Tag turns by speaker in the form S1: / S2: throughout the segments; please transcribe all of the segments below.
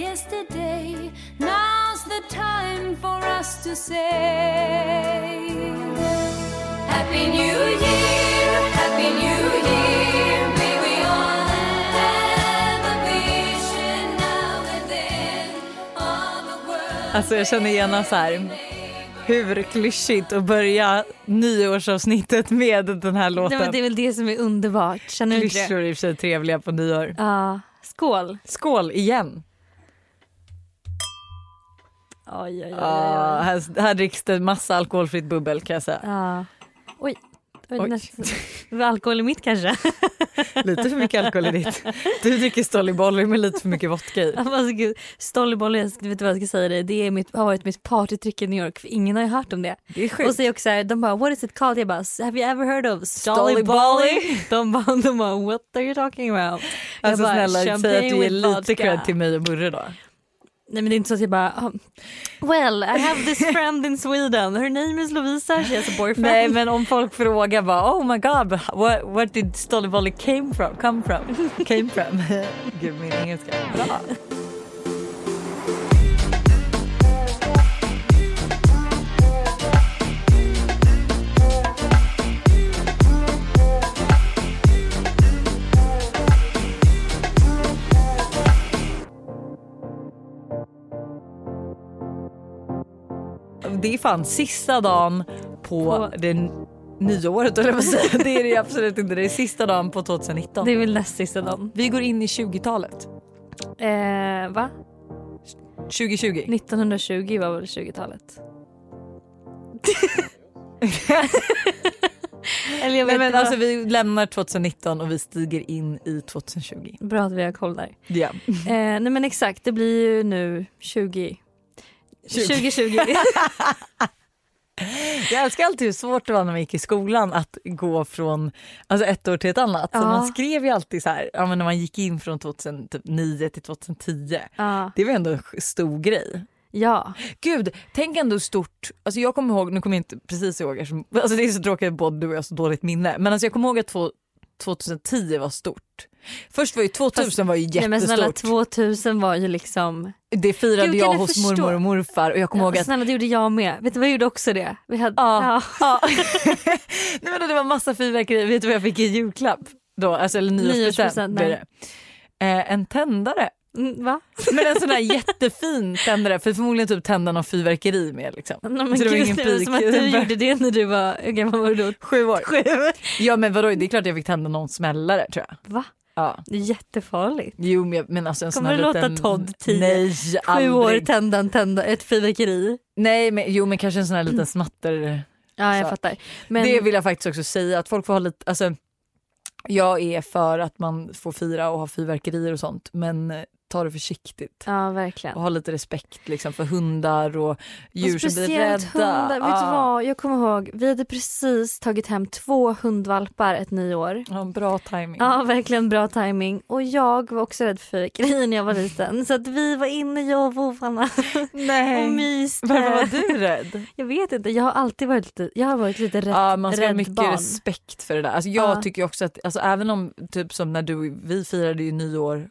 S1: yesterday. Now's the time for us to say Happy New Year, Happy New Year. May we all have a vision now and then of a world.
S2: Alltså jag känner genast så här, hur klyschigt att börja nyårsavsnittet med den här
S3: Nej,
S2: låten.
S3: men det är väl det som är underbart. Känner du inte det?
S2: Klyschor är i och för sig trevliga på nyår.
S3: Ja. Skål.
S2: Skål igen!
S3: Oj, oj, oj. oj.
S2: Ja, Ah, här, här dricks det massa alkoholfritt bubbel kan jag säga.
S3: Ja. Oj. Det var
S2: Oj.
S3: nästan- det var alkohol i mitt kanske.
S2: Lite för mycket alkohol i ditt. Du dricker Stolliboller med lite för mycket vodka i.
S3: Alltså, gud. Stollebollen, jag ska- vet du vad jag ska säga dig? Det är mitt, har varit mitt partytrick i New York för ingen har ju hört om det.
S2: Det är
S3: Och
S2: sjukt.
S3: så är jag också så här, de bara what is it called? Jag bara have you ever heard of
S2: Stolly
S3: Stollibolly? De bara, de bara what are you talking about? Jag
S2: Alltså
S3: bara,
S2: snälla, säg
S3: champagne
S2: att du ger
S3: with
S2: lite
S3: vodka.
S2: cred till mig och Burre då.
S3: Nej men det är inte så att jag bara "Ah, well I have this friend in Sweden her name is Lovisa she has a boyfriend.
S2: Nej men om folk frågar bara oh my god but what, what did Stollivolley came from? Come from? Came from? Gud min engelska. Bra. Det är fan sista dagen på,
S3: På-
S2: det n- nyåret höll jag på att säga. Det är det absolut inte. Det är sista dagen på 2019.
S3: Det är väl näst sista dagen.
S2: Vi går in i 20-talet.
S3: Eh, va?
S2: 2020.
S3: 1920 var väl 20-talet? Eller jag vet
S2: Nej, men
S3: inte.
S2: alltså, vi lämnar 2019 och vi stiger in i 2020.
S3: Bra att vi har koll där.
S2: Ja.
S3: Eh, nej men exakt, det blir ju nu 20...
S2: 20.
S3: 2020.
S2: Jag älskar alltid hur svårt det var när man gick i skolan att gå från alltså ett år till ett annat. Så
S3: Ja.
S2: man skrev ju alltid så här, ja, men när man gick in från 2009 till 2010.
S3: ja.
S2: Det var ändå en stor grej.
S3: ja.
S2: Gud, tänk ändå stort. Alltså jag kommer ihåg, nu kommer jag inte precis ihåg eftersom, alltså det är så tråkigt att både du och jag har så dåligt minne. Men alltså jag kommer ihåg att två, 2010 var stort. Först var ju 2000 var ju
S3: Nej, men snälla
S2: jättestort.
S3: 2000 var ju liksom...
S2: det firade
S3: Gud, kan
S2: jag
S3: du
S2: hos
S3: förstå?
S2: mormor och morfar och jag kommer ihåg att
S3: Snälla det gjorde jag med. Vet du vad jag gjorde också det? Vi hade...
S2: Ja.
S3: ja.
S2: Ja. Nej, men det var massa fyrverkerier. Vet du vad jag fick i julklapp? Då? Alltså, eller nyårspresent.
S3: Nyårspresent,
S2: blir
S3: nej.
S2: det. Eh, en tändare.
S3: Mm, va?
S2: Men en sån där jättefin tändare. För förmodligen typ tända någon fyrverkeri med. Liksom.
S3: Nej, men
S2: Så det var
S3: gud,
S2: ingen
S3: det var som att
S2: pik.
S3: du gjorde det när du var... Hur gammal var du då?
S2: Sju år.
S3: Sju?
S2: Ja men vadå, det är klart jag fick tända någon smällare tror jag.
S3: Va?
S2: Ja.
S3: Det är jättefarligt.
S2: Jo men, jag- men alltså en sån
S3: Kommer
S2: här
S3: det låta
S2: liten...
S3: Todd 10?
S2: Nej
S3: Sju
S2: aldrig.
S3: år, tända, en tända, ett fyrverkeri.
S2: Nej men jo men kanske en sån här liten smatter.
S3: Ja, jag
S2: Så.
S3: fattar. Mm. Men,
S2: Det vill jag faktiskt också säga att folk får ha lite, alltså jag är för att man får fira och ha fyrverkerier och sånt men eh, ta det försiktigt.
S3: ja, verkligen.
S2: Och ha lite respekt liksom, för hundar och
S3: Och
S2: djur som blir rädda. Ah,
S3: speciellt hundar. Vet du
S2: Ja.
S3: vad? Jag kommer ihåg, vi hade precis tagit hem två hundvalpar ett nyår.
S2: Ja, bra timing.
S3: Ja, verkligen bra timing. Och jag var också rädd för fyrverkerier när jag var liten. Så att vi var inne, jag och vovvarna, och
S2: Nej.
S3: myste.
S2: Varför var du rädd?
S3: Jag vet inte, jag har alltid varit lite, jag har varit lite rädd,
S2: Ja, man ska ha
S3: rädd
S2: mycket
S3: barn.
S2: respekt för det där. Alltså, jag
S3: Ja.
S2: tycker ju också att, alltså, även om typ som när du, vi firade ju nyår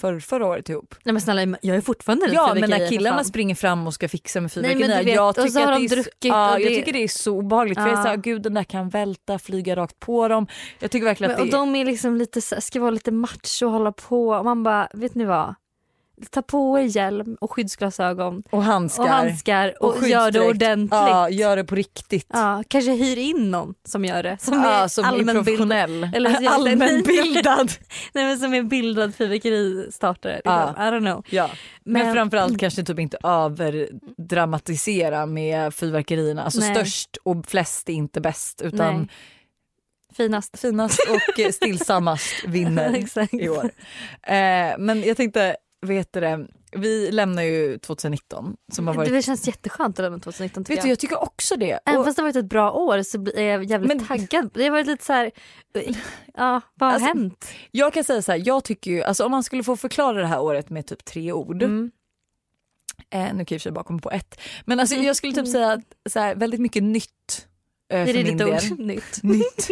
S2: för, förra året ihop.
S3: Nej men snälla, jag är fortfarande rädd
S2: Ja
S3: för
S2: men när
S3: fyrverkerier, för
S2: killarna
S3: fan.
S2: springer fram och ska fixa med
S3: men du
S2: fyrverkerierna.
S3: vet,
S2: Jag
S3: och så
S2: tycker
S3: har
S2: att
S3: de
S2: det är så-
S3: druckit
S2: ja,
S3: och
S2: jag
S3: det-
S2: tycker det är så obehagligt för jag är
S3: Ja.
S2: såhär, gud den där kan välta, flyga rakt på dem. Jag tycker verkligen
S3: Men, och
S2: att det är...
S3: de är liksom lite, så- ska vara lite macho och hålla på. Och man bara, vet ni vad? Ta på er hjälm och skyddsglasögon
S2: Och handskar.
S3: och handskar och, gör det
S2: skyddsdräkt.
S3: ordentligt.
S2: Ja,
S3: Ja,
S2: gör det på riktigt.
S3: kanske hyr in någon som gör det. Som
S2: Ja,
S3: är
S2: som är
S3: allmänbild-
S2: professionell.
S3: Eller så-
S2: Allmänbildad.
S3: Nej, men som är bildad fyrverkeristartare. Liksom.
S2: Ja.
S3: I don't know.
S2: Ja. Men,
S3: Men-
S2: framförallt kanske typ inte överdramatisera med fyrverkerierna. Alltså
S3: Nej.
S2: störst och flest är inte bäst utan
S3: Nej. Finast.
S2: finast och eh, stillsammast vinner
S3: Exakt.
S2: i år. Eh, men jag tänkte, vet du det, vi lämnar ju 2019 som har varit...
S3: Det känns jätteskönt att lämna 2019 tycker
S2: Vet du, jag tycker också det.
S3: Även
S2: Och,
S3: fast det har varit ett bra år så bli- är jag jävligt
S2: Men-
S3: taggad. Det har varit lite så här, ja, vad har
S2: Alltså,
S3: hänt?
S2: jag kan säga så här, jag tycker ju, alltså om man skulle få förklara det här året med typ tre ord.
S3: Mm.
S2: Mm. Eh, nu kan jag i och för sig bara komma på ett. Men alltså, jag skulle typ säga att, så här, väldigt mycket nytt. eh,
S3: Det
S2: för
S3: är
S2: min
S3: ditt
S2: del.
S3: ord. Nytt.
S2: Nytt,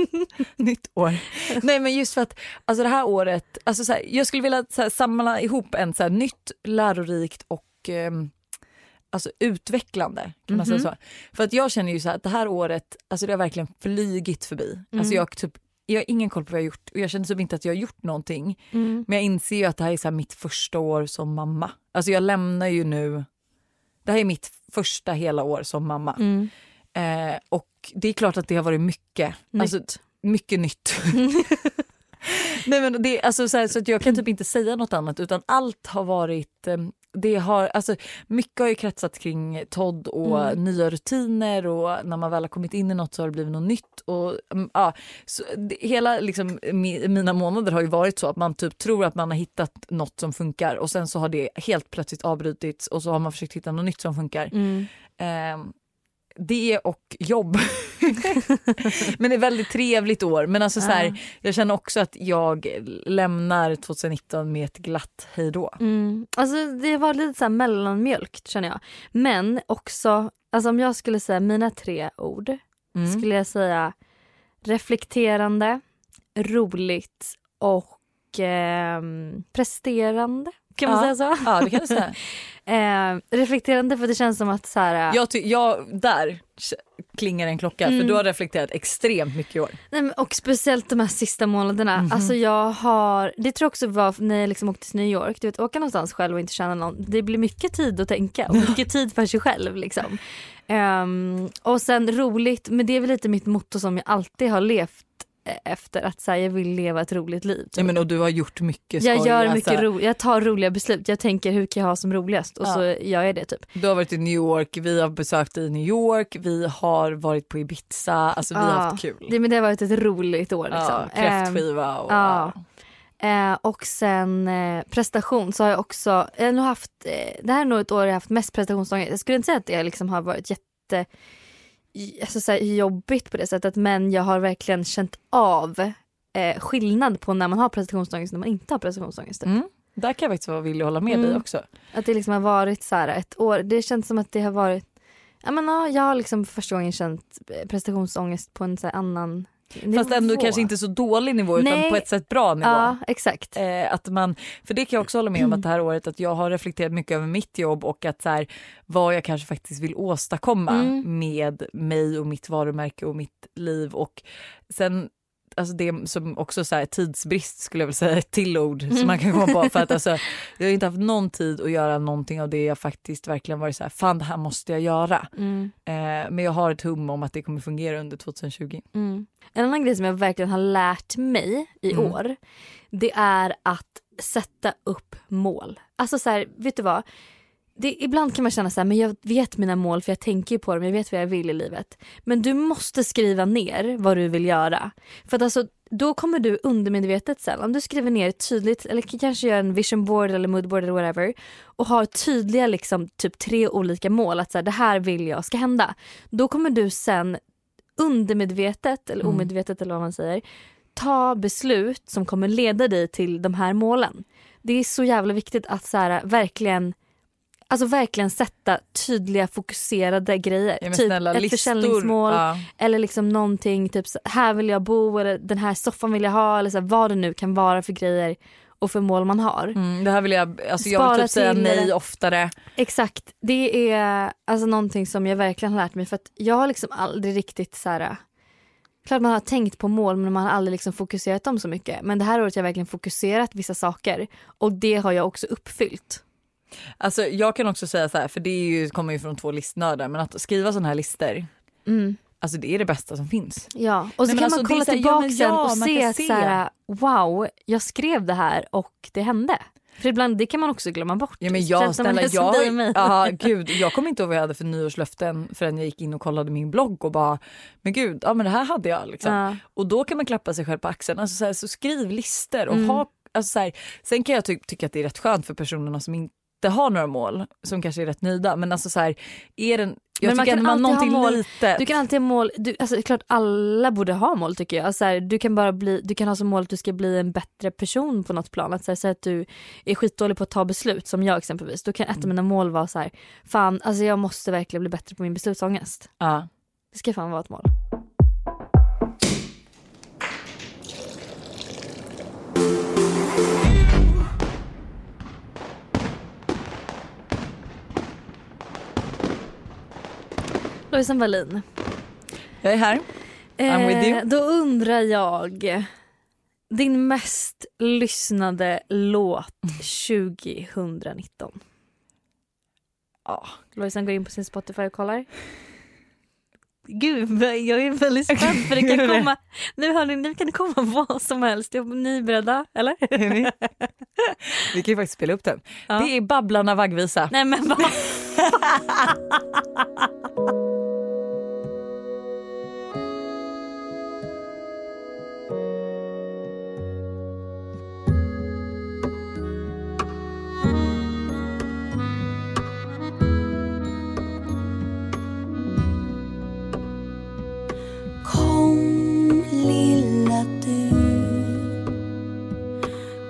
S2: nytt år. Nej men just för att alltså det här året, alltså så här, jag skulle vilja så här, samla ihop en så här, nytt, lärorikt och ehm, alltså, utvecklande. Kan man säga så? För att jag känner ju så här, att det här året, alltså det har verkligen flygit förbi. Alltså jag, har typ, jag har ingen koll på vad jag har gjort och jag känner typ inte att jag har gjort någonting. Men jag inser ju att det här är så här, mitt första år som mamma. Alltså jag lämnar ju nu, det här är mitt första hela år som mamma.
S3: Mm.
S2: Eh, och det är klart att det har varit mycket.
S3: Nytt.
S2: Alltså, mycket nytt. Nej, men det, är alltså, så, här, så att jag kan typ inte säga något annat utan allt har varit eh, det har, alltså, mycket har ju kretsat kring Todd och nya rutiner och när man väl har kommit in i något så har det blivit något nytt. Och, mm, ja, så, det, hela liksom, mi, mina månader har ju varit så att man typ tror att man har hittat något som funkar och sen så har det helt plötsligt avbrutits och så har man försökt hitta något nytt som funkar.
S3: Mm.
S2: Ehm, det och jobb. men det är väldigt trevligt år. Men alltså så här, jag känner också att jag lämnar 2019 med ett glatt hejdå.
S3: Mm. Alltså det var lite så här mellanmjölkt känner jag. Men också, alltså om jag skulle säga mina tre ord
S2: Mm.
S3: skulle jag säga reflekterande, roligt och ehm, presterande. Kan man
S2: Ja.
S3: säga så?
S2: Ja, det kan du säga.
S3: Ehm, reflekterande för det känns som att så här,
S2: Jag ty- jag, där klingar en klocka
S3: Mm.
S2: för du har reflekterat extremt mycket i år.
S3: Nej, men, och speciellt de här sista månaderna.
S2: Mhm.
S3: Alltså jag har, det tror jag också var när jag liksom åkte till New York. Du vet åka någonstans själv och inte känna någon. Det blir mycket tid att tänka och mycket tid för sig själv. Liksom. Ehm, och sen roligt, men det är väl lite mitt motto som jag alltid har levt eh, efter. Att så här, jag vill leva ett roligt liv. typ.
S2: Ja, men, och du har gjort mycket skoj.
S3: jag gör mycket
S2: alltså,
S3: ro, jag tar roliga beslut. Jag tänker hur kan jag ha som roligast och
S2: Ja.
S3: så gör jag det typ.
S2: Du har varit i New York, vi har besökt dig i New York, vi har varit på Ibiza, alltså vi har
S3: Ja,
S2: haft kul.
S3: Det, men det har varit ett roligt år. Liksom.
S2: ja, kräftskiva och...
S3: Ja. Eh, och sen eh, prestation så har jag också, jag har nog haft, eh, det här är nog ett år jag har haft mest prestationsångest. Jag skulle inte säga att det liksom har varit jätte i- alltså, så här, jobbigt på det sättet men jag har verkligen känt av eh, skillnad på när man har prestationsångest och när man inte har prestationsångest.
S2: Mm. Där kan jag faktiskt vara villig att hålla med
S3: Mm.
S2: dig också.
S3: Att det liksom har varit så här ett år, det känns som att det har varit, ja men ja, jag har liksom för första gången känt eh, prestationsångest på en så här annan
S2: Fast ändå
S3: nivå.
S2: kanske inte så dålig nivå utan
S3: Nej.
S2: på ett sätt bra nivå.
S3: Ja exakt.
S2: Eh, att man, för det kan jag också hålla med om att det här året att jag har reflekterat mycket över mitt jobb och att så här, vad jag kanske faktiskt vill åstadkomma
S3: Mm.
S2: med mig och mitt varumärke och mitt liv och sen Alltså det som också så här, tidsbrist skulle jag vilja säga ett till ord
S3: Mm.
S2: som man kan komma på för att alltså, jag har inte haft någon tid att göra någonting av det jag faktiskt verkligen varit så här fan det här måste jag göra.
S3: Mm.
S2: Eh, men jag har ett hum om att det kommer fungera under 2020.
S3: Mm. En annan grej som jag verkligen har lärt mig i
S2: Mm.
S3: år det är att sätta upp mål. Alltså så här, vet du vad? Det, ibland kan man känna så här, men jag vet mina mål för jag tänker ju på dem, jag vet vad jag vill i livet. Men du måste skriva ner vad du vill göra. För att alltså, då kommer du undermedvetet sen, om du skriver ner tydligt, eller k- kanske gör en vision board eller mood board eller whatever och har tydliga liksom typ tre olika mål, att så här, det här vill jag ska hända. Då kommer du sen undermedvetet eller
S2: Mm.
S3: omedvetet eller vad man säger ta beslut som kommer leda dig till de här målen. Det är så jävla viktigt att så här, verkligen Alltså verkligen sätta tydliga fokuserade grejer.
S2: Ja, men
S3: typ
S2: snälla,
S3: ett
S2: listor,
S3: försäljningsmål
S2: ja.
S3: eller liksom någonting typ så här vill jag bo eller den här soffan vill jag ha eller så här, vad det nu kan vara för grejer och för mål man har.
S2: Mm, det här vill jag, alltså jag vill
S3: Spara
S2: typ säga
S3: till
S2: nej
S3: det.
S2: oftare.
S3: Exakt, det är alltså någonting som jag verkligen har lärt mig för att jag har liksom aldrig riktigt så här. Klart man har tänkt på mål men man har aldrig liksom fokuserat dem så mycket. Men det här året har jag verkligen fokuserat vissa saker och det har jag också uppfyllt.
S2: Alltså, jag kan också säga så här, för det är ju, kommer ju från två listnördar, men att skriva sådana här listor,
S3: Mm.
S2: alltså det är det bästa som finns.
S3: Ja, och
S2: Nej,
S3: så
S2: men
S3: kan
S2: alltså,
S3: man
S2: det
S3: kolla
S2: är så här, ja,
S3: tillbaka
S2: men
S3: sen
S2: ja,
S3: och
S2: man
S3: se
S2: kan
S3: att
S2: se.
S3: så här, wow, jag skrev det här och det hände. För ibland det kan man också glömma bort.
S2: Ja, men
S3: Speciellt
S2: jag,
S3: om
S2: snälla,
S3: man är som dig och
S2: jag,
S3: mig.
S2: aha, gud, jag kommer inte ihåg vad jag hade för nyårslöften förrän jag gick in och kollade min blogg och bara, men gud, ja men det här hade jag liksom.
S3: Ja.
S2: Och då kan man klappa sig själv på axeln. Alltså, så, här, så skriv listor och
S3: Mm.
S2: ha, alltså, så här, sen kan jag ty- tycka att det är rätt skönt för personerna som inte har några mål, som kanske är rätt nöjda, men alltså så här, är den, jag
S3: Men man
S2: tycker
S3: kan
S2: att man
S3: alltid ha
S2: någonting
S3: mål.
S2: litet.
S3: Du kan alltid ha mål, du, alltså det är klart alla borde ha mål tycker jag. Alltså, Så här, du, kan bara bli, du kan ha som mål att du ska bli en bättre person på något plan. Att säga att du är skitdålig på att ta beslut som jag exempelvis. Då kan ett
S2: Mm.
S3: av mina mål vara så här, fan alltså jag måste verkligen bli bättre på min beslutsångest.
S2: Ja.
S3: Det ska fan vara ett mål. Lojsan Wallin.
S2: Jag är här. I'm with you.
S3: Eh, då undrar jag, din mest lyssnade låt 2019?
S2: Ja.
S3: Lojsan går in på sin Spotify och kollar. Gud, vad- jag är väldigt spänd för det kan komma, nu hörni, nu kan det komma vad som helst. Jag- Ni är beredda, eller?
S2: Är ni? Vi kan ju faktiskt spela upp den.
S3: Ja.
S2: Det är Babblarna vaggvisa.
S3: Nej men vad
S1: Kom lilla du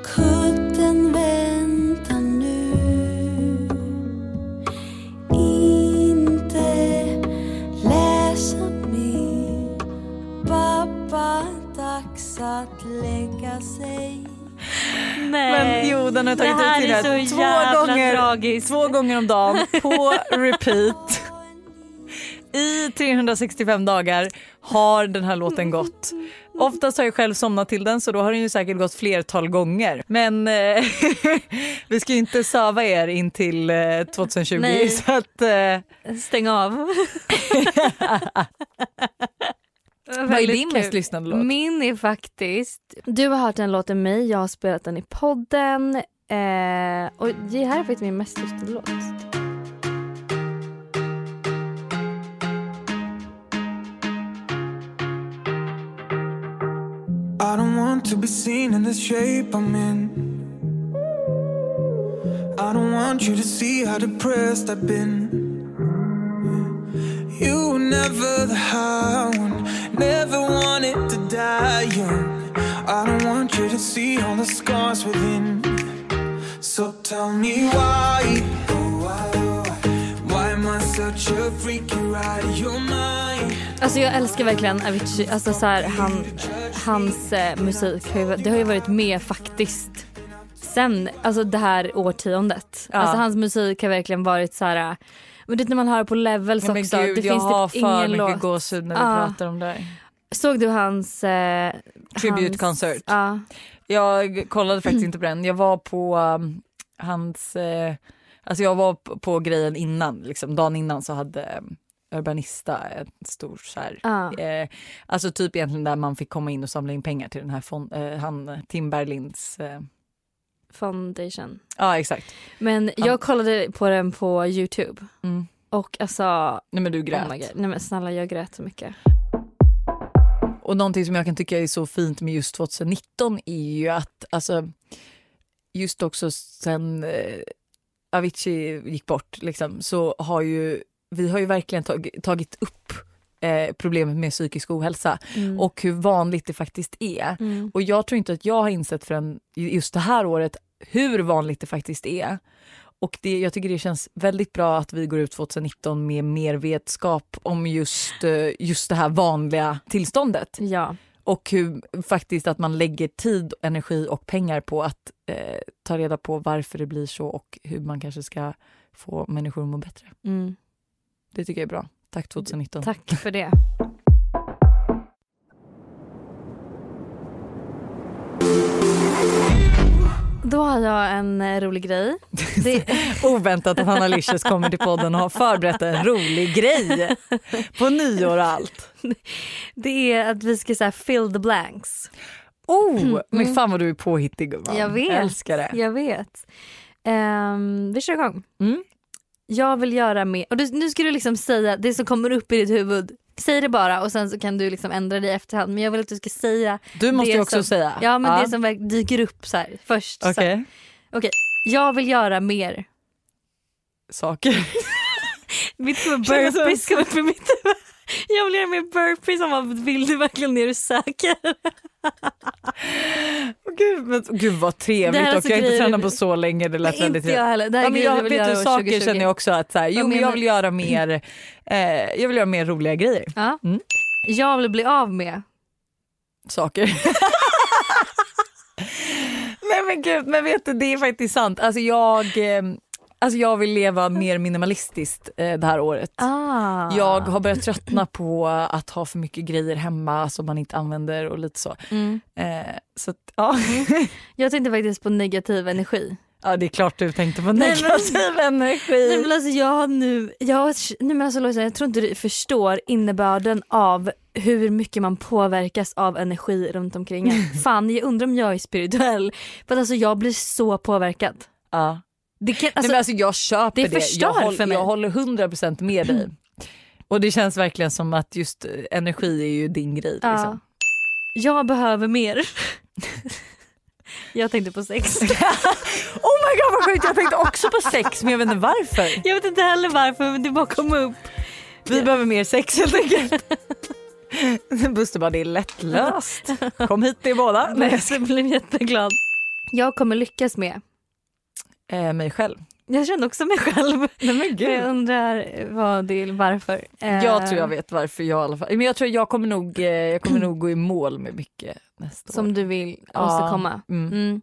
S1: Kudden väntar nu Inte läsa mer Pappa dags att lägga sig
S3: Nej.
S2: Men jo, den har
S3: det
S2: tagit ut
S3: här
S2: sin
S3: är
S2: rätt.
S3: så
S2: två
S3: jävla
S2: gånger,
S3: tragiskt.
S2: Två gånger om dagen på repeat. I 365 dagar har den här låten gått. Oftast har jag själv somnat till den så då har den ju säkert gått flertal gånger. Men eh, vi ska ju inte söva er in till eh, 2020
S3: Nej.
S2: så att eh,
S3: Stäng av.
S2: vad är din mest lyssnade låt?
S3: Min är faktiskt... Du har hört den låten med mig, jag har spelat den i podden. Eh, och det här är faktiskt min mest lyssnade låt.
S4: I don't want to be seen in the shape I'm in. I don't want you to see how depressed I've been. You were never the high one, never wanted to die young. I don't want you to see all the scars within. So tell me why, oh why, oh, why, why am I such a freak? You're out of your mind.
S3: Alltså jag älskar verkligen Avicii. Alltså så här, han, hans eh, musik har ju, det har ju varit med faktiskt sen alltså det här årtiondet. Alltså hans musik har verkligen varit så här... eh, Men det när man hör på levels
S2: Ja, men
S3: också.
S2: gud,
S3: det
S2: jag
S3: finns
S2: har
S3: typ
S2: för
S3: ingen
S2: mycket
S3: låt.
S2: gåshud när vi
S3: Ah.
S2: pratar om det här.
S3: Såg du hans... Eh,
S2: Tribute
S3: hans-
S2: concert.
S3: Ja.
S2: Jag kollade faktiskt inte på den. Jag var på um, hans, eh, alltså jag var på, på grejen innan, liksom dagen innan så hade um, Urbanista ett stort så här,
S3: ja.
S2: eh, alltså typ egentligen där man fick komma in och samla in pengar till den här fond, eh, han Tim Berglinds, eh,
S3: Foundation.
S2: ja exakt.
S3: Men jag kollade på den på Youtube
S2: Mm.
S3: och alltså,
S2: Nej men du grät.
S3: oh my God. Nej men snälla jag grät så mycket.
S2: Och någonting som jag kan tycka är så fint med just 2019 är ju att alltså, just också sen eh, Avicii gick bort liksom, så har ju vi har ju verkligen tag, tagit upp eh, problemet med psykisk ohälsa
S3: Mm.
S2: och hur vanligt det faktiskt är.
S3: Mm.
S2: Och jag tror inte att jag har insett förrän just det här året hur vanligt det faktiskt är. Och det, jag tycker det känns väldigt bra att vi går ut 2019 med mer vetskap om just, eh, just det här vanliga tillståndet.
S3: Ja,
S2: Och hur, faktiskt att man lägger tid, energi och pengar på att eh, ta reda på varför det blir så och hur man kanske ska få människor att må bättre.
S3: mm.
S2: Det tycker jag är bra. Tack 2019.
S3: tack för det. Då har jag en eh, rolig grej. Det,
S2: Oväntat att Hanna Licious kommer till podden och har förberett en rolig grej på nyår och allt.
S3: det är att vi ska säga fill the blanks.
S2: Oh, men fan vad du är påhittig gumman.
S3: Mm. Jag vet.
S2: älskar det.
S3: Jag vet. Ehm, vi kör igång.
S2: Mm.
S3: Jag vill göra mer. Och du, nu ska du liksom säga det som kommer upp i ditt huvud. Säg det bara och sen så kan du liksom ändra dig i efterhand. Men jag vill att du ska säga
S2: Du måste
S3: det
S2: ju också
S3: som,
S2: säga.
S3: Ja men det som verk- dyker upp så här först. Så här.
S2: Okej,
S3: Jag vill göra mer.
S2: saker.
S3: Mitt huvud
S2: Känns som-
S3: burpees kom upp i mitt huvud. Jag vill göra mer burpees. Han bara, vill du verkligen det? Är du säker?
S2: Åh, Gud, men, gud vad
S3: Det
S2: trevligt
S3: här är
S2: och
S3: alltså
S2: jag har inte
S3: grejer-
S2: tränat på så länge. Det lät väldigt
S3: Inte jag heller. Det här
S2: Ja,
S3: är
S2: men
S3: grejer
S2: jag,
S3: vill
S2: vet
S3: göra
S2: du,
S3: år
S2: saker
S3: 2020.
S2: känner jag också att så här, jo,
S3: Vad
S2: men
S3: menar
S2: jag vill
S3: du?
S2: göra mer, eh, jag vill göra mer roliga grejer.
S3: Ja.
S2: Mm.
S3: Jag vill bli av med.
S2: Saker. Nej men gud, men vet du det är faktiskt sant. Alltså jag, eh, alltså jag vill leva mer minimalistiskt eh, det här året.
S3: Ah.
S2: Jag har börjat tröttna på att ha för mycket grejer hemma som man inte använder och lite så.
S3: Mm.
S2: Eh, så att, ja.
S3: Jag tänkte faktiskt på negativ energi.
S2: ja, det är klart du tänkte på
S3: Nej, men-
S2: negativ
S3: Nej,
S2: energi.
S3: men alltså jag har nu, jag, har- nej men alltså Lojsan jag tror inte du förstår innebörden av hur mycket man påverkas av energi runt omkring en. Fan jag undrar om jag är spirituell. För att alltså jag blir så påverkad.
S2: Ja.
S3: Det kan,
S2: Nej,
S3: alltså,
S2: men alltså jag köper
S3: det
S2: det.
S3: förstör
S2: jag, håller,
S3: för mig.
S2: jag håller 100% med dig. Och det känns verkligen som att just eh, energi är ju din grej.
S3: ja.
S2: Liksom.
S3: Jag behöver mer. jag tänkte på sex.
S2: Oh my god vad sjukt, jag tänkte också på sex men jag vet inte varför.
S3: Jag vet inte heller varför men det bara kom upp.
S2: Vi behöver mer sex helt enkelt. Buster bara det är lättlöst. Kom hit till båda.
S3: Men
S2: Nej, jag
S3: jag blev jätteglad. Jag kommer lyckas med.
S2: ska- eh, mig själv.
S3: Jag känner också mig själv.
S2: Nej men
S3: Jag undrar vad det är, varför. Eh,
S2: Jag tror jag vet varför jag i alla fall. Men jag tror jag kommer nog, eh, jag kommer nog gå i mål med mycket nästa år.
S3: Som du vill
S2: Ja.
S3: åstadkomma.
S2: Mm.
S3: Mm.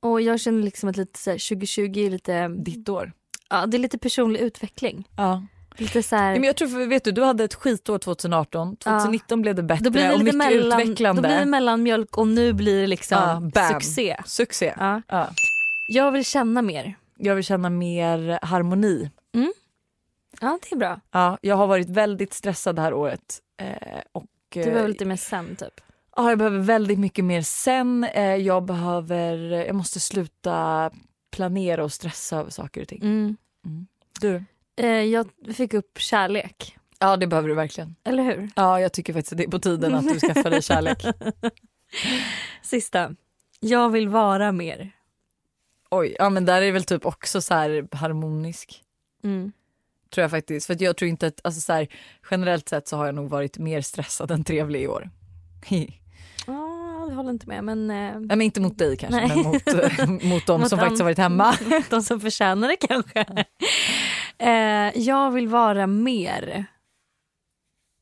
S3: Och jag känner liksom att lite så här, 2020 är lite,
S2: Ditt år.
S3: ja, det är lite personlig utveckling.
S2: Ja.
S3: Lite så
S2: Nej,
S3: här,
S2: Men jag tror, för- vet du, du hade ett skitår 2018, 2019 blev det bättre
S3: då blir det
S2: och
S3: lite
S2: mycket
S3: mellan, då
S2: utvecklande.
S3: blir det mellanmjölk och nu blir det
S2: Ja,
S3: liksom
S2: bam.
S3: succé.
S2: Succé.
S3: Ja.
S2: Ja.
S3: Jag vill känna mer.
S2: Jag vill känna mer harmoni.
S3: Ja det är bra.
S2: Ja, jag har varit väldigt stressad det här året. Eh, och, eh,
S3: Du behöver lite mer sen typ.
S2: Ja, jag behöver väldigt mycket mer sen. Eh, jag, behöver, jag måste sluta planera och stressa över saker och ting.
S3: Mm.
S2: Du?
S3: Eh, jag fick upp kärlek,
S2: Ja, det behöver du verkligen.
S3: eller hur?
S2: Ja, jag tycker faktiskt att det är på tiden att du skaffar dig kärlek.
S3: Sista. Jag vill vara mer.
S2: Oj, ja men där är det väl typ också så här harmonisk.
S3: Mm.
S2: Tror jag faktiskt. För att jag tror inte att, alltså så här, generellt sett så har jag nog varit mer stressad än trevlig i år. Nej
S3: Ah, jag håller inte med men eh,
S2: men inte mot dig kanske,
S3: Nej.
S2: men mot, eh, mot de
S3: Mot
S2: som
S3: dem. Mm.
S2: faktiskt har varit hemma.
S3: de som förtjänar det kanske. Eh, jag vill vara mer.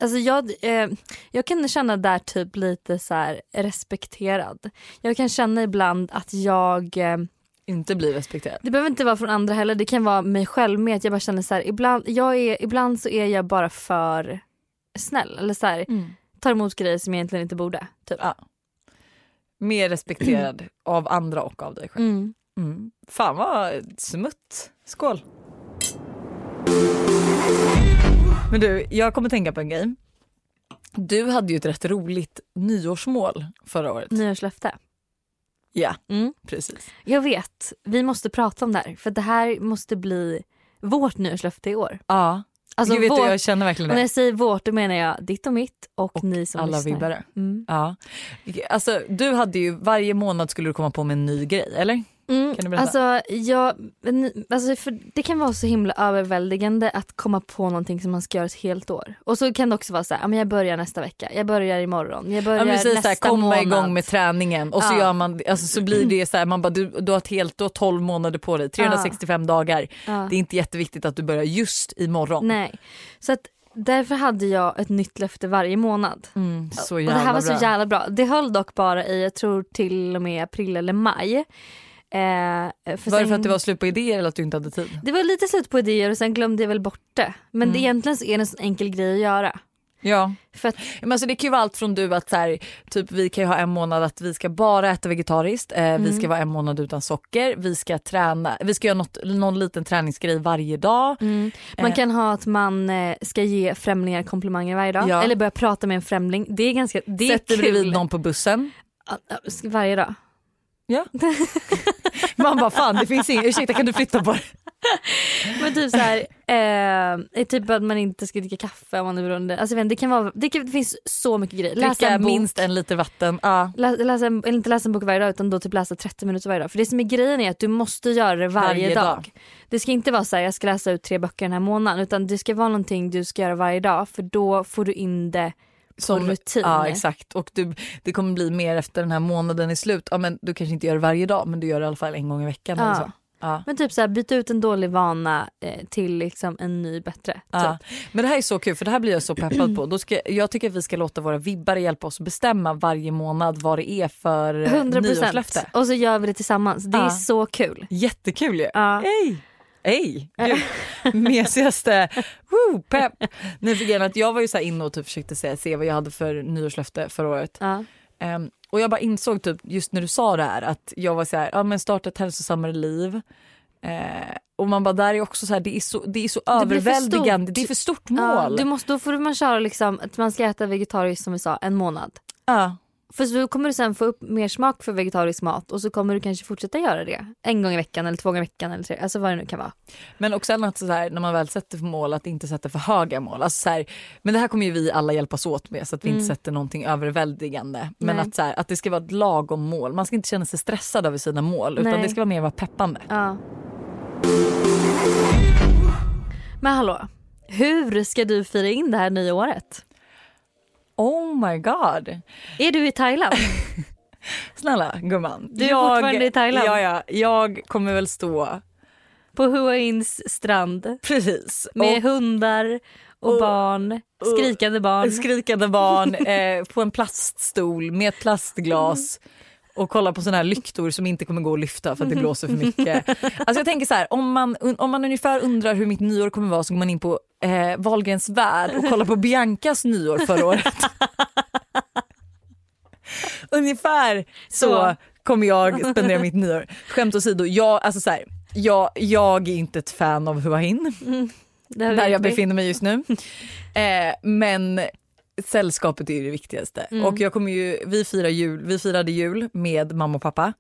S3: Alltså jag, eh, jag kan känna där typ lite så här respekterad. Jag kan känna ibland att jag, eh,
S2: Inte bli respekterad.
S3: det behöver inte vara från andra heller, det kan vara mig själv med. Att jag bara känner så här, ibland, jag är, ibland så är jag bara för snäll. Eller så här, tar emot grejer som jag egentligen inte borde. Typ.
S2: Ja. Mer respekterad av andra och av dig själv.
S3: Mm.
S2: Mm. Fan vad smutt. Skål. Men du, jag kommer tänka på en grej. Du hade ju ett rätt roligt nyårsmål förra året.
S3: Nyårslöfte.
S2: Ja,
S3: Mm.
S2: precis.
S3: Jag vet, vi måste prata om det här för det här måste bli vårt nyårslöfte i år.
S2: Ja,
S3: Alltså
S2: du vet,
S3: vårt,
S2: jag känner verkligen
S3: och när
S2: det.
S3: jag säger vårt då menar jag ditt och mitt och, ni som
S2: Alla
S3: lyssnar.
S2: vibbare.
S3: Mm.
S2: Ja. Alltså, du hade ju, varje månad skulle du komma på med en ny grej, eller?
S3: Mm,
S2: Kan du berätta?
S3: alltså, jag, men- alltså för det kan vara så himla överväldigande att komma på någonting som man ska göra ett helt år. Och så kan det också vara så här, ja, men jag börjar nästa vecka, jag börjar imorgon, jag börjar
S2: Ja, men precis,
S3: nästa
S2: så här, komma
S3: månad.
S2: igång med träningen och så,
S3: Ja.
S2: gör man, alltså, så blir det så här, man bara, du, du har ett helt, du har 12 månader på dig, 365 dagar.
S3: Ja.
S2: Det är inte jätteviktigt att du börjar just imorgon.
S3: Nej, så att därför hade jag ett nytt löfte varje månad.
S2: Mm, så
S3: Och det
S2: jävla
S3: här var
S2: bra.
S3: så jävla bra. Det höll dock bara i, jag tror till och med april eller maj. Eh, för
S2: var det
S3: sen-
S2: för att det var slut på idéer eller att du inte hade tid?
S3: det var lite slut på idéer och sen glömde jag väl bort det. Men
S2: Mm.
S3: det egentligen så är det en sån enkel grej att göra.
S2: Ja.
S3: För att,
S2: Men alltså det kan ju vara allt från du att så här, typ vi kan ju ha en månad att vi ska bara äta vegetariskt, eh, vi
S3: Mm.
S2: ska vara en månad utan socker, vi ska träna, vi ska göra något, någon liten träningsgrej varje dag.
S3: mm,
S2: Eh.
S3: man kan ha att man eh, ska ge främlingar komplimanger varje dag.
S2: Ja.
S3: Eller börja prata med en främling. Det är ganska det är
S2: Sätt dig
S3: kul.
S2: bredvid någon på bussen.
S3: Ja, ja, Varje dag.
S2: Ja. Man bara fan det finns ingen, ursäkta kan du flytta på det?
S3: Men typ så här, eh, det är typ att man inte ska dricka kaffe om man är beroende. Alltså, jag vet inte, det, kan vara, det, kan, det finns så mycket grejer. Läsa
S2: Dricka
S3: en bok.
S2: minst en liter vatten. Ja.
S3: Lä- läsa en, eller inte läsa en bok varje dag utan då typ läsa 30 minuter varje dag. För det som är grejen är att du måste göra det varje,
S2: Varje
S3: dag.
S2: dag.
S3: Det ska inte vara så här, jag ska läsa ut tre böcker den här månaden utan det ska vara någonting du ska göra varje dag för då får du in det
S2: Som
S3: rutin.
S2: Ja exakt och du, det kommer bli mer efter den här månaden är slut. Ja, men du kanske inte gör det varje dag men du gör det i alla fall en gång i veckan.
S3: Ja.
S2: Eller så. Ja.
S3: Men typ så här, byta ut en dålig vana eh, till liksom en ny bättre.
S2: Ja.
S3: Typ.
S2: Men det här är så kul för det här blir jag så peppad på. Då ska, jag tycker att vi ska låta våra vibbare hjälpa oss att bestämma varje månad vad det är för eh,
S3: 100
S2: nyårslöfte.
S3: Och så gör vi det tillsammans. Det är
S2: Ja.
S3: så kul.
S2: Jättekul ju.
S3: Ja.
S2: Hej! Ej, gud. Mesigaste woo, pepp. Nej, för grejen är att jag var ju så här inne och typ försökte säga, se vad jag hade för nyårslöfte förra året.
S3: Ja.
S2: Ehm, och jag bara insåg typ just när du sa det här att jag var så här, ja men starta ett hälsosammare liv. Eh, och man bara där är också så här, det är så, det är så
S3: blir för
S2: överväldigande,
S3: stort.
S2: det är för stort
S3: Ja,
S2: mål.
S3: du måste, då får man köra liksom, att man ska äta vegetariskt som vi sa en månad.
S2: Ja.
S3: För så kommer du sen få upp mer smak för vegetarisk mat och så kommer du kanske fortsätta göra det. En gång i veckan eller två gånger i veckan eller tre, alltså vad det nu kan vara.
S2: Men också att så här, när man väl sätter för mål att inte sätta för höga mål. Alltså så här, men det här kommer ju vi alla hjälpas åt med så att vi inte sätter någonting överväldigande. Men
S3: Mm. Nej.
S2: att, så här, att det ska vara ett lagom mål. Man ska inte känna sig stressad över sina mål utan
S3: Nej.
S2: det ska vara mer vara peppande.
S3: Ja. Men hallå, hur ska du fira in det här nya året?
S2: Oh my god!
S3: Är du i Thailand?
S2: Snälla gumman.
S3: Du är fortfarande i Thailand.
S2: Ja, ja, jag kommer väl stå
S3: På Hua Ins strand
S2: precis.
S3: med hundar och
S2: och-
S3: barn, skrikande barn.
S2: och skrikande barn eh, på en plaststol med ett plastglas och kolla på såna här lyktor som inte kommer gå att lyfta för att det blåser för mycket. Alltså jag tänker så här, om man, om man ungefär undrar hur mitt nyår kommer vara så går man in på eh, Wahlgrens värld och kollar på Biancas nyår förra året. ungefär så,
S3: Så.
S2: kommer jag spendera mitt nyår. Skämt åsido, jag, alltså så här, jag, jag är inte ett fan av Hua Hin
S3: Det här
S2: där
S3: vet
S2: jag
S3: vi.
S2: befinner mig just nu. Eh, men sällskapet är ju det viktigaste.
S3: Mm.
S2: Och jag kommer ju, vi, firar jul, vi firade jul med mamma och pappa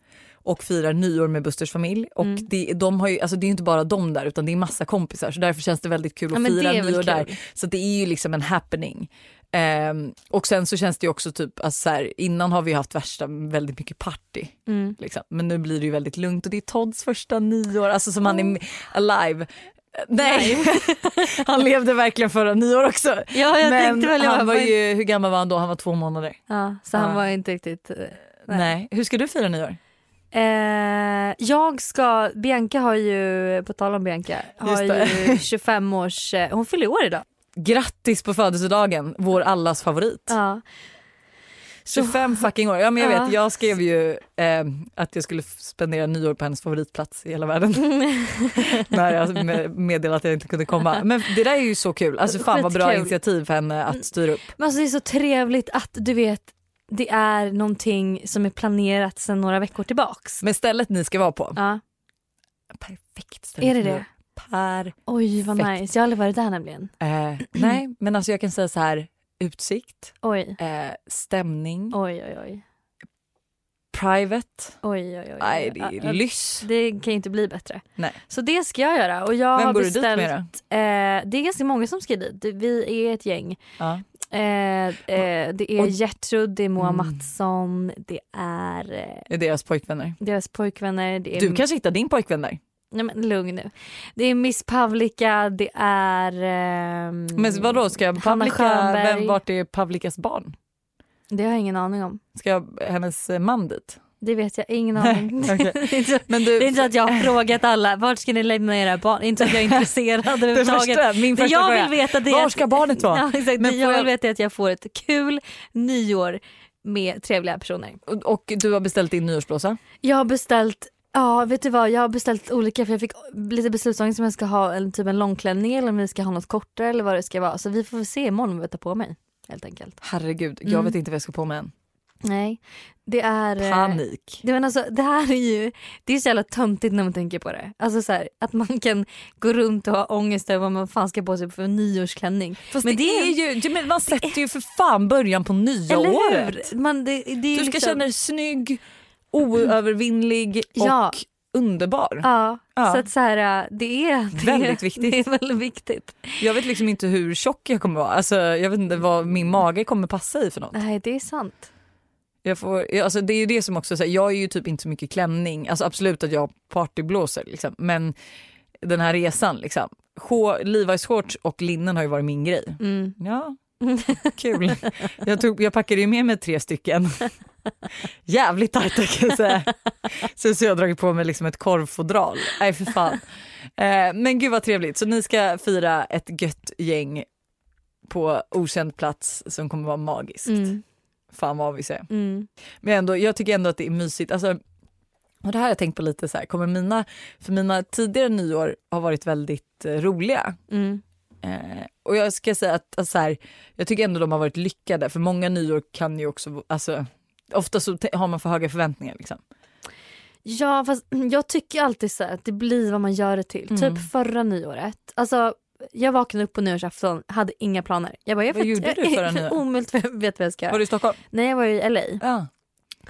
S2: och firar nyår med Busters familj. Och
S3: Mm.
S2: det, de har ju, alltså det är ju inte bara de där utan det är massa kompisar så därför känns det väldigt kul
S3: Ja,
S2: att
S3: men
S2: fira
S3: det är väl
S2: nyår där.
S3: kul.
S2: Så det är ju liksom en happening. Ehm, och sen så känns det ju också typ, alltså så här, innan har vi haft värsta väldigt mycket party.
S3: Mm.
S2: Liksom. Men nu blir det ju väldigt lugnt och det är Todds första nyår, alltså som han är
S3: Oh.
S2: med- alive. Eh, Nej, han levde verkligen förra nyår också.
S3: Ja, jag
S2: Men
S3: tänkte väl jag.
S2: han var
S3: men-
S2: ju, hur gammal var han då? Han var två månader.
S3: Ja, så
S2: Ja.
S3: han var inte riktigt... eh,
S2: Nej. Hur ska du fira nyår?
S3: Eh, jag ska, Bianca har ju, på tal om Bianca, har
S2: Just det.
S3: ju 25 års, eh, hon fyller år idag.
S2: Grattis på födelsedagen, vår allas favorit.
S3: Ja.
S2: 25 fucking år. Ja, men jag
S3: Ja.
S2: vet, jag skrev ju eh, att jag skulle f- spendera nyår på hennes favoritplats i hela världen. När jag med- meddelade att jag inte kunde komma. Men det där är ju så kul. Alltså fan vad bra
S3: Skitkul.
S2: initiativ för henne att styra upp.
S3: Men alltså det är så trevligt att du vet, det är någonting som är planerat sedan några veckor tillbaks.
S2: Men stället ni ska vara på.
S3: Ja.
S2: Perfekt ställe.
S3: Är det
S2: för
S3: det?
S2: nyår. Per.
S3: Oj vad
S2: Mm. Perfekt.
S3: nice, jag har aldrig varit där nämligen.
S2: Eh, nej, men alltså jag kan säga så här. Utsikt,
S3: Oj,
S2: eh, stämning,
S3: oj, oj, oj.
S2: private.
S3: oj, oj, oj.
S2: Nej, det
S3: Ja, ja,
S2: är lyss.
S3: det kan ju inte bli bättre.
S2: Nej.
S3: Så det ska jag göra och jag har
S2: Vem går du dit
S3: beställt,
S2: med då?
S3: Eh, det är ganska många som ska dit, vi är ett gäng.
S2: Ja.
S3: Eh, eh, det är
S2: Och-
S3: Gertrud, det är Moa
S2: Mm.
S3: Mattsson, det är eh,
S2: Är deras pojkvänner.
S3: deras pojkvänner. Det är
S2: Du kanske hittar din pojkvän där.
S3: Nej men lugn nu. Det är Miss Pavlika, det är... ehm,
S2: Men vadå, ska
S3: Hanna
S2: Pavlika,
S3: Schönberg.
S2: vem, vart är Pavlikas barn?
S3: Det har jag ingen aning om.
S2: Ska hennes eh, man dit?
S3: Det vet jag, ingen aning.
S2: okej.
S3: det är inte-
S2: Men du,
S3: det är inte så att jag har frågat alla, vart ska ni lämna era barn? Inte så att jag är intresserad
S2: det
S3: överhuvudtaget.
S2: första, min
S3: Det
S2: första
S3: jag
S2: fråga.
S3: vill veta det är
S2: Var
S3: att,
S2: ska barnet vara?
S3: ja, exakt,
S2: Men
S3: det jag
S2: får jag-
S3: vill veta är att jag får ett kul nyår med trevliga personer.
S2: Och- Och du har beställt din nyårsblåsa?
S3: Jag har beställt Ja, vet du vad? Jag har beställt olika för jag fick lite beslutsångest om jag ska ha en, typ en långklänning eller om vi ska ha något kortare eller vad det ska vara. Så vi får väl se imorgon vad jag tar på mig helt enkelt.
S2: Herregud, jag
S3: Mm.
S2: vet inte vad jag ska på mig än.
S3: Nej, det är... eh,
S2: Panik.
S3: Det, men alltså, det här är ju det är så jävla töntigt när man tänker på det. Alltså så här, att man kan gå runt och ha ångest över vad man fan ska på sig för en nyårsklänning.
S2: Fast
S3: men
S2: det,
S3: det
S2: är ju, ja, men man sätter ju för fan början på nya året.
S3: hur? Man, det, det är
S2: Du ska
S3: liksom,
S2: känna dig snygg, oövervinnlig och
S3: Ja.
S2: underbar.
S3: Ja,
S2: Ja.
S3: så att så här, eh, det är... Det,
S2: Väldigt viktigt.
S3: Det är väldigt viktigt.
S2: Jag vet liksom inte hur tjock jag kommer vara. Alltså, jag vet inte vad min mage kommer passa i för något.
S3: Nej, det är sant.
S2: Jag, får, jag- alltså, det är ju det som också, så här, jag är ju typ inte så mycket klänning. Alltså absolut att jag partyblåser liksom. Men den här resan liksom. Shor- Levi's shorts och linnen har ju varit min grej.
S3: Mm.
S2: Ja, kul. Jag, tog, jag packade ju med mig tre stycken. Jävligt tajta kan jag säga. Sen så har jag dragit på mig liksom ett korvfodral. Nej för fan. Eh, men gud vad trevligt. Så ni ska fira ett gött gäng på okänd plats som kommer vara magiskt.
S3: Mm.
S2: Fan vad vi säger.
S3: Mm.
S2: Men ändå, jag tycker ändå att det är mysigt. Alltså, Och det här har jag tänkt på lite så här, kommer mina, för mina tidigare nyår har varit väldigt eh, roliga.
S3: Mm.
S2: Eh, och jag ska säga att alltså, så här, jag tycker ändå de har varit lyckade för många nyår kan ju också, alltså ofta så te- har man för höga förväntningar liksom.
S3: Ja fast jag tycker alltid så här att det blir vad man gör det till.
S2: Mm.
S3: Typ förra nyåret. Alltså jag vaknade upp på nyårsafton, hade inga planer. Jag bara, jag
S2: Vad
S3: vet-
S2: gjorde
S3: jag,
S2: du förra nyår?
S3: Omöjligt vet vad jag ska göra.
S2: Var du i Stockholm?
S3: Nej jag var i LA.
S2: Ja.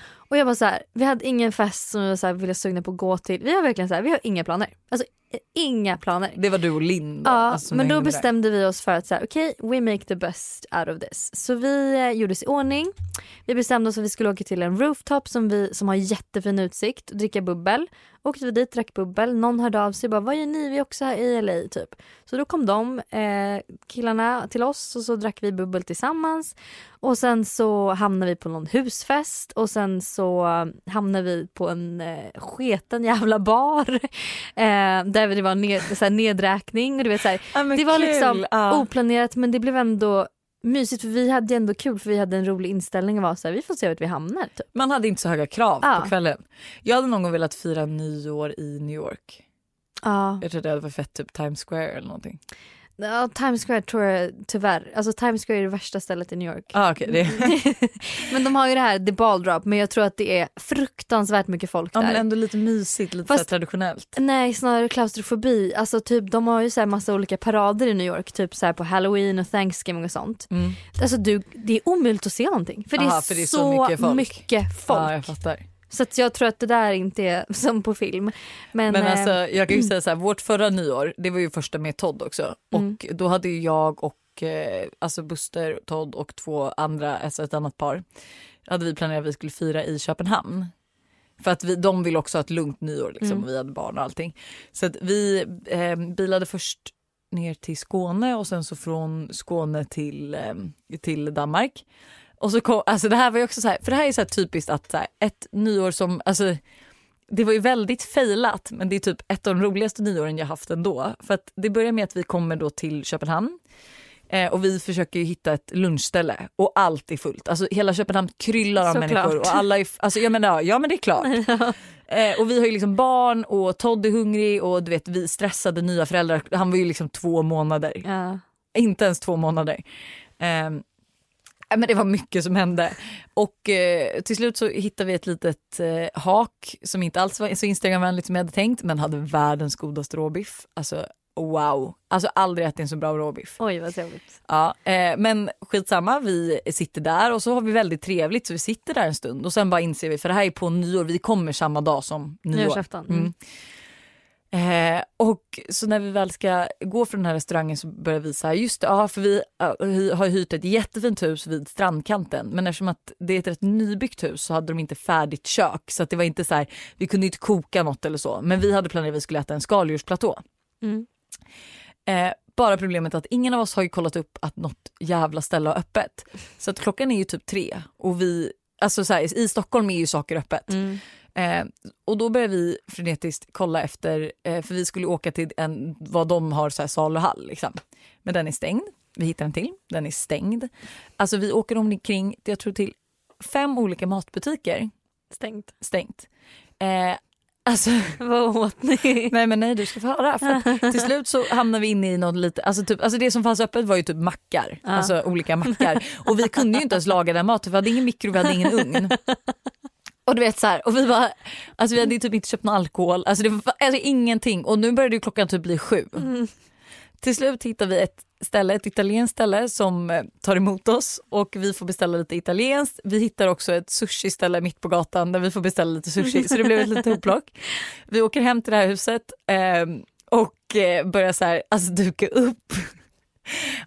S3: Och jag bara så här, vi hade ingen fest som jag så här ville sugna på att gå till. Vi har verkligen så här, vi har inga planer. Alltså eh, inga planer.
S2: Det var du och Linn då,
S3: Ja,
S2: alltså, som
S3: men då
S2: hängde där.
S3: bestämde vi oss för att så här, okej, we make the best out of this. Så vi eh, gjordes i ordning. Vi bestämde oss att vi skulle åka till en rooftop som, vi, som har jättefin utsikt och dricka bubbel. Åkte vi dit, drack bubbel. Någon hörde av sig och bara, vad gör ni? Vi är också här i LA typ. Så då kom de eh, killarna till oss och så drack vi bubbel tillsammans. Och sen så hamnade vi på någon husfest och sen så hamnade vi på en eh, sketen jävla bar. Eh, där det var ned, så här, nedräkning och du vet så här,
S2: Ja, men
S3: det var
S2: kul.
S3: liksom
S2: ja.
S3: oplanerat men det blev ändå mysigt för vi hade ändå kul för vi hade en rolig inställning och var så här, vi får se vart vi hamnar typ.
S2: Man hade inte så höga krav
S3: Ja.
S2: på kvällen. Jag hade någon gång velat fira nyår i New York.
S3: Ja,
S2: Jag trodde det var fett typ Times Square eller någonting.
S3: ja Times Square tror jag tyvärr, alltså Times Square är det värsta stället i New York.
S2: Ah, okay, det.
S3: men de har ju det här, the ball drop, men jag tror att det är fruktansvärt mycket folk
S2: Ja,
S3: där.
S2: men ändå lite mysigt, lite
S3: Fast-
S2: så här traditionellt.
S3: Nej, snarare klaustrofobi. Alltså typ, de har ju så här massa olika parader i New York, typ så här på halloween och thanksgiving och sånt.
S2: Mm.
S3: Alltså du, det är omöjligt att se någonting för det,
S2: Aha,
S3: är,
S2: för det är
S3: så,
S2: så mycket
S3: mycket
S2: folk.
S3: folk.
S2: Ja, jag fattar.
S3: Så att jag tror att det där inte är som på film. Men,
S2: Men
S3: eh,
S2: alltså, jag kan ju säga så här, vårt förra nyår, det var ju första med Todd också.
S3: Mm.
S2: Och då hade ju jag och eh, alltså Buster, Todd och två andra, alltså ett annat par, hade vi planerat att vi skulle fira i Köpenhamn. För att vi, de vill också ha ett lugnt nyår, liksom,
S3: Mm.
S2: och vi hade barn och allting. Så att vi eh, bilade först ner till Skåne och sen så från Skåne till, eh, till Danmark. Och så kom, alltså det här var ju också så här, för det här är så här typiskt att så här, ett nyår som, alltså det var ju väldigt failat men det är typ ett av de roligaste nyåren jag haft ändå. För att det börjar med att vi kommer då till Köpenhamn eh, och vi försöker ju hitta ett lunchställe och allt är fullt. Alltså hela Köpenhamn kryllar av
S3: Såklart.
S2: människor och alla är, f- alltså jag menar, ja, ja men det är klart. Eh, och vi har ju liksom barn och Todd är hungrig och du vet vi stressade nya föräldrar. Han var ju liksom två månader
S3: eh, ja.
S2: inte ens två månader. Ehm, nej, men det var mycket som hände. Och eh, till slut så hittade vi ett litet eh, hak som inte alls var så Instagramvänligt som jag hade tänkt men hade världens godaste råbiff. Alltså wow, alltså aldrig ätit en så bra råbiff.
S3: Oj vad trevligt.
S2: Ja, eh, men skitsamma, vi sitter där och så har vi väldigt trevligt så vi sitter där en stund och sen bara inser vi, för det här är på nyår, vi kommer samma dag som nyår.
S3: Nyårsafton.
S2: Mm. Eh, och så när vi väl ska gå från den här restaurangen så börjar vi så här, just det, ja, för vi ja, hy- har hyrt ett jättefint hus vid strandkanten men eftersom att det är ett rätt nybyggt hus så hade de inte färdigt kök så att det var inte så här, vi kunde inte koka något eller så men vi hade planerat att vi skulle äta en skaldjursplatå.
S3: Mm.
S2: Eh, bara problemet att ingen av oss har ju kollat upp att något jävla ställe har öppet. Så att klockan är ju typ tre och vi, alltså så här, i Stockholm är ju saker öppet.
S3: Mm.
S2: Eh, och då började vi frenetiskt kolla efter, eh, för vi skulle åka till en, vad de har så här saluhall liksom. Men den är stängd, vi hittar en till, den är stängd. Alltså vi åker omkring, jag tror till fem olika matbutiker,
S3: Stängt.
S2: stängt. Eh, alltså
S3: Vad åt ni?
S2: Nej men nej du ska få höra. För att till slut så hamnar vi inne i något lite, alltså, typ, alltså det som fanns öppet var ju typ mackar, alltså olika mackar. Och vi kunde ju inte ens laga den maten, vi hade ingen mikro, vi hade ingen ugn. Och du vet så här, och vi bara, alltså vi hade ju typ inte köpt någon alkohol, alltså, det var, alltså ingenting. Och nu började ju klockan typ bli sju. Till slut hittar vi ett ställe, ett italienskt ställe som eh, tar emot oss och vi får beställa lite italienskt. Vi hittar också ett sushi-ställe mitt på gatan där vi får beställa lite sushi så det blev ett litet hopplock. Vi åker hem till det här huset ehm, och eh, börjar så här, alltså duka upp.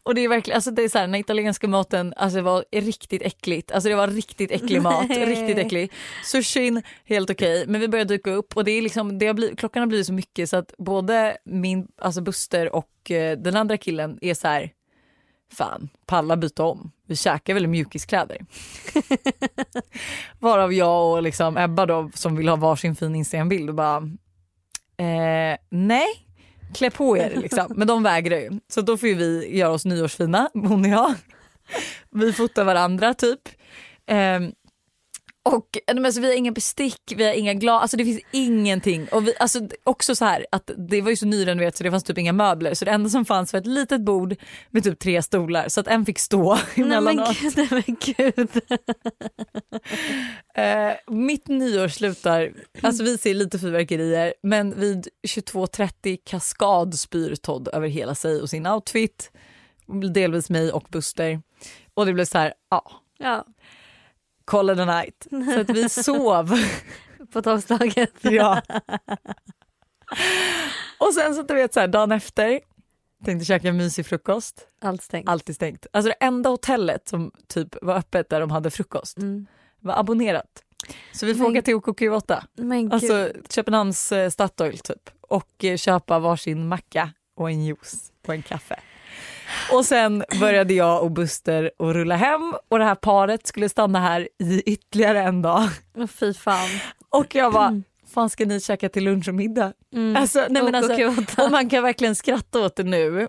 S2: Och det är verkligen, alltså det är så här, den italienska maten, alltså det var riktigt äckligt. Alltså det var riktigt äcklig mat,
S3: Nej.
S2: riktigt äcklig. Sushin, helt okej. Men vi börjar dyka upp och det är liksom, det har blivit, klockan har blivit så mycket så att både min, alltså Buster och eh, den andra killen är så här, fan, palla byta om. Vi käkar väl mjukiskläder. Varav jag och liksom Ebba då, som vill ha varsin fin Instagrambild och bara eh, nej, klä på er liksom. Men de vägrar ju. Så då får ju vi göra oss nyårsfina, hon och jag. Vi fotar varandra typ. Eh, Och nej, men alltså, vi har inga bestick, vi har inga glas, alltså det finns ingenting. Och vi, alltså, d- också så här att det var ju så nyrenoverat så det fanns typ inga möbler. Så det enda som fanns var ett litet bord med typ tre stolar så att en fick stå
S3: Nej men
S2: emellanåt.
S3: gud, nej men gud.
S2: Eh, mitt nyår slutar, alltså vi ser lite fyrverkerier, men vid 22.30 kaskad spyr Todd över hela sig och sin outfit, delvis mig och Buster. Och det blev så här, ja,
S3: Ja,
S2: call it a night. Så att vi sov.
S3: på tolvslaget.
S2: ja. Och sen så att du vet så här, dagen efter, tänkte käka en mysig frukost,
S3: Allt stängt.
S2: alltid stängt. Alltså det enda hotellet som typ var öppet där de hade frukost
S3: Mm.
S2: var abonnerat. Så vi får
S3: Men-
S2: åka till OKQ8.
S3: Men gud.
S2: Alltså Köpenhamns eh, Statoil typ och eh, köpa varsin macka och en juice och en kaffe. Och sen började jag och Buster att rulla hem och det här paret skulle stanna här i ytterligare en dag.
S3: Åh, fy fan.
S2: Och jag bara, fan ska ni käka till lunch och middag? Alltså, nej, men
S3: Och-
S2: alltså,
S3: och gud,
S2: och man kan verkligen skratta åt det nu.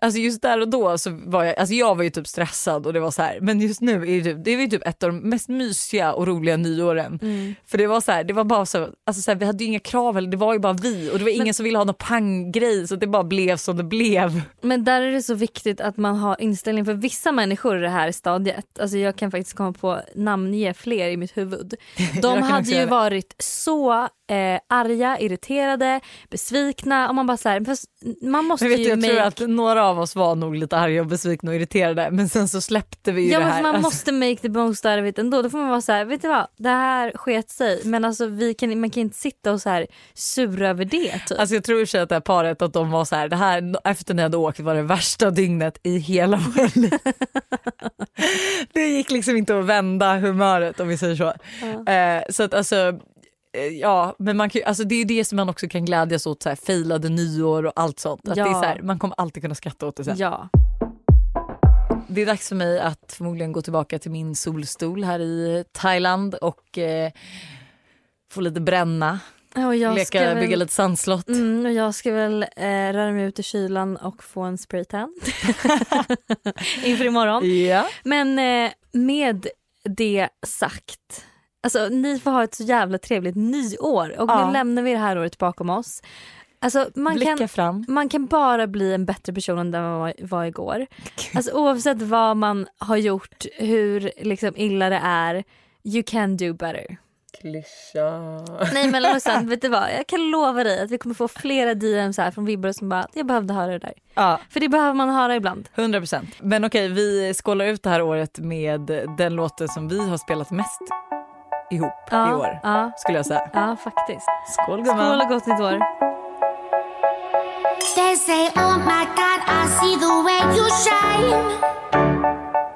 S2: Alltså just där och då så var jag, alltså jag var ju typ stressad och det var så här, men just nu är det, det är ju typ ett av de mest mysiga och roliga nyåren.
S3: Mm.
S2: För det var så här, det var bara så, alltså så här, vi hade ju inga krav eller det var ju bara vi och det var ingen som ville ha någon panggrej så det bara blev som det blev.
S3: Men där är det så viktigt att man har inställning för vissa människor i det här stadiet. Alltså jag kan faktiskt komma på namnge fler i mitt huvud. De
S2: kan
S3: hade
S2: också
S3: ju
S2: göra det.
S3: varit så eh, arga, irriterade, besvikna och man bara så här, fast man måste
S2: Men vet du,
S3: ju
S2: jag tror
S3: make-
S2: att några av oss var nog lite arga och besvikna och irriterade men sen så släppte vi ju
S3: Ja
S2: det
S3: men
S2: här.
S3: för man
S2: Alltså,
S3: måste make the most out of it ändå. Då får man vara så här, vet du vad, det här sket sig men alltså vi kan, man kan inte sitta och så här sura över det typ.
S2: Alltså jag tror i och för sig att det här paret att de var så här, det här efter ni hade åkt var det värsta dygnet i hela våra liv. det gick liksom inte att vända humöret om vi säger så. Eh, så att alltså, eh, ja men man kan, ju- alltså det är ju det som man också kan glädjas åt, så här, failade nyår och allt sånt. Att
S3: Ja.
S2: det är så här, man kommer alltid kunna skratta åt det sen.
S3: ja.
S2: Det är dags för mig att förmodligen gå tillbaka till min solstol här i Thailand och eh, få lite bränna,
S3: Och jag ska
S2: leka,
S3: väl-
S2: bygga lite sandslott.
S3: Mm, och jag ska väl eh, röra mig ut i kylan och få en spraytan inför imorgon.
S2: Ja.
S3: Men eh, med det sagt, alltså ni får ha ett så jävla trevligt nyår och
S2: Ja.
S3: nu lämnar vi det här året bakom oss. Alltså man
S2: Blicka
S3: kan,
S2: fram.
S3: man kan bara bli en bättre person än den man var, var igår. Alltså oavsett vad man har gjort, hur liksom illa det är, you can do better.
S2: Klyscha.
S3: Nej men Lojsan, vet du vad? Jag kan lova dig att vi kommer få flera DMs här från vibbare som bara “jag behövde höra det där”.
S2: Ja,
S3: För det behöver man höra ibland.
S2: 100 procent. Men okej, vi skålar ut det här året med den låten som vi har spelat mest ihop i år.
S3: ja,
S2: Skulle jag säga.
S3: ja faktiskt.
S2: Skål
S3: Skål
S2: gumman.
S3: och gott nytt år.
S5: They say, Oh my god, I see the way you shine.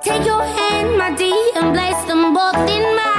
S5: Take your hand, my dear, and place them both in mine.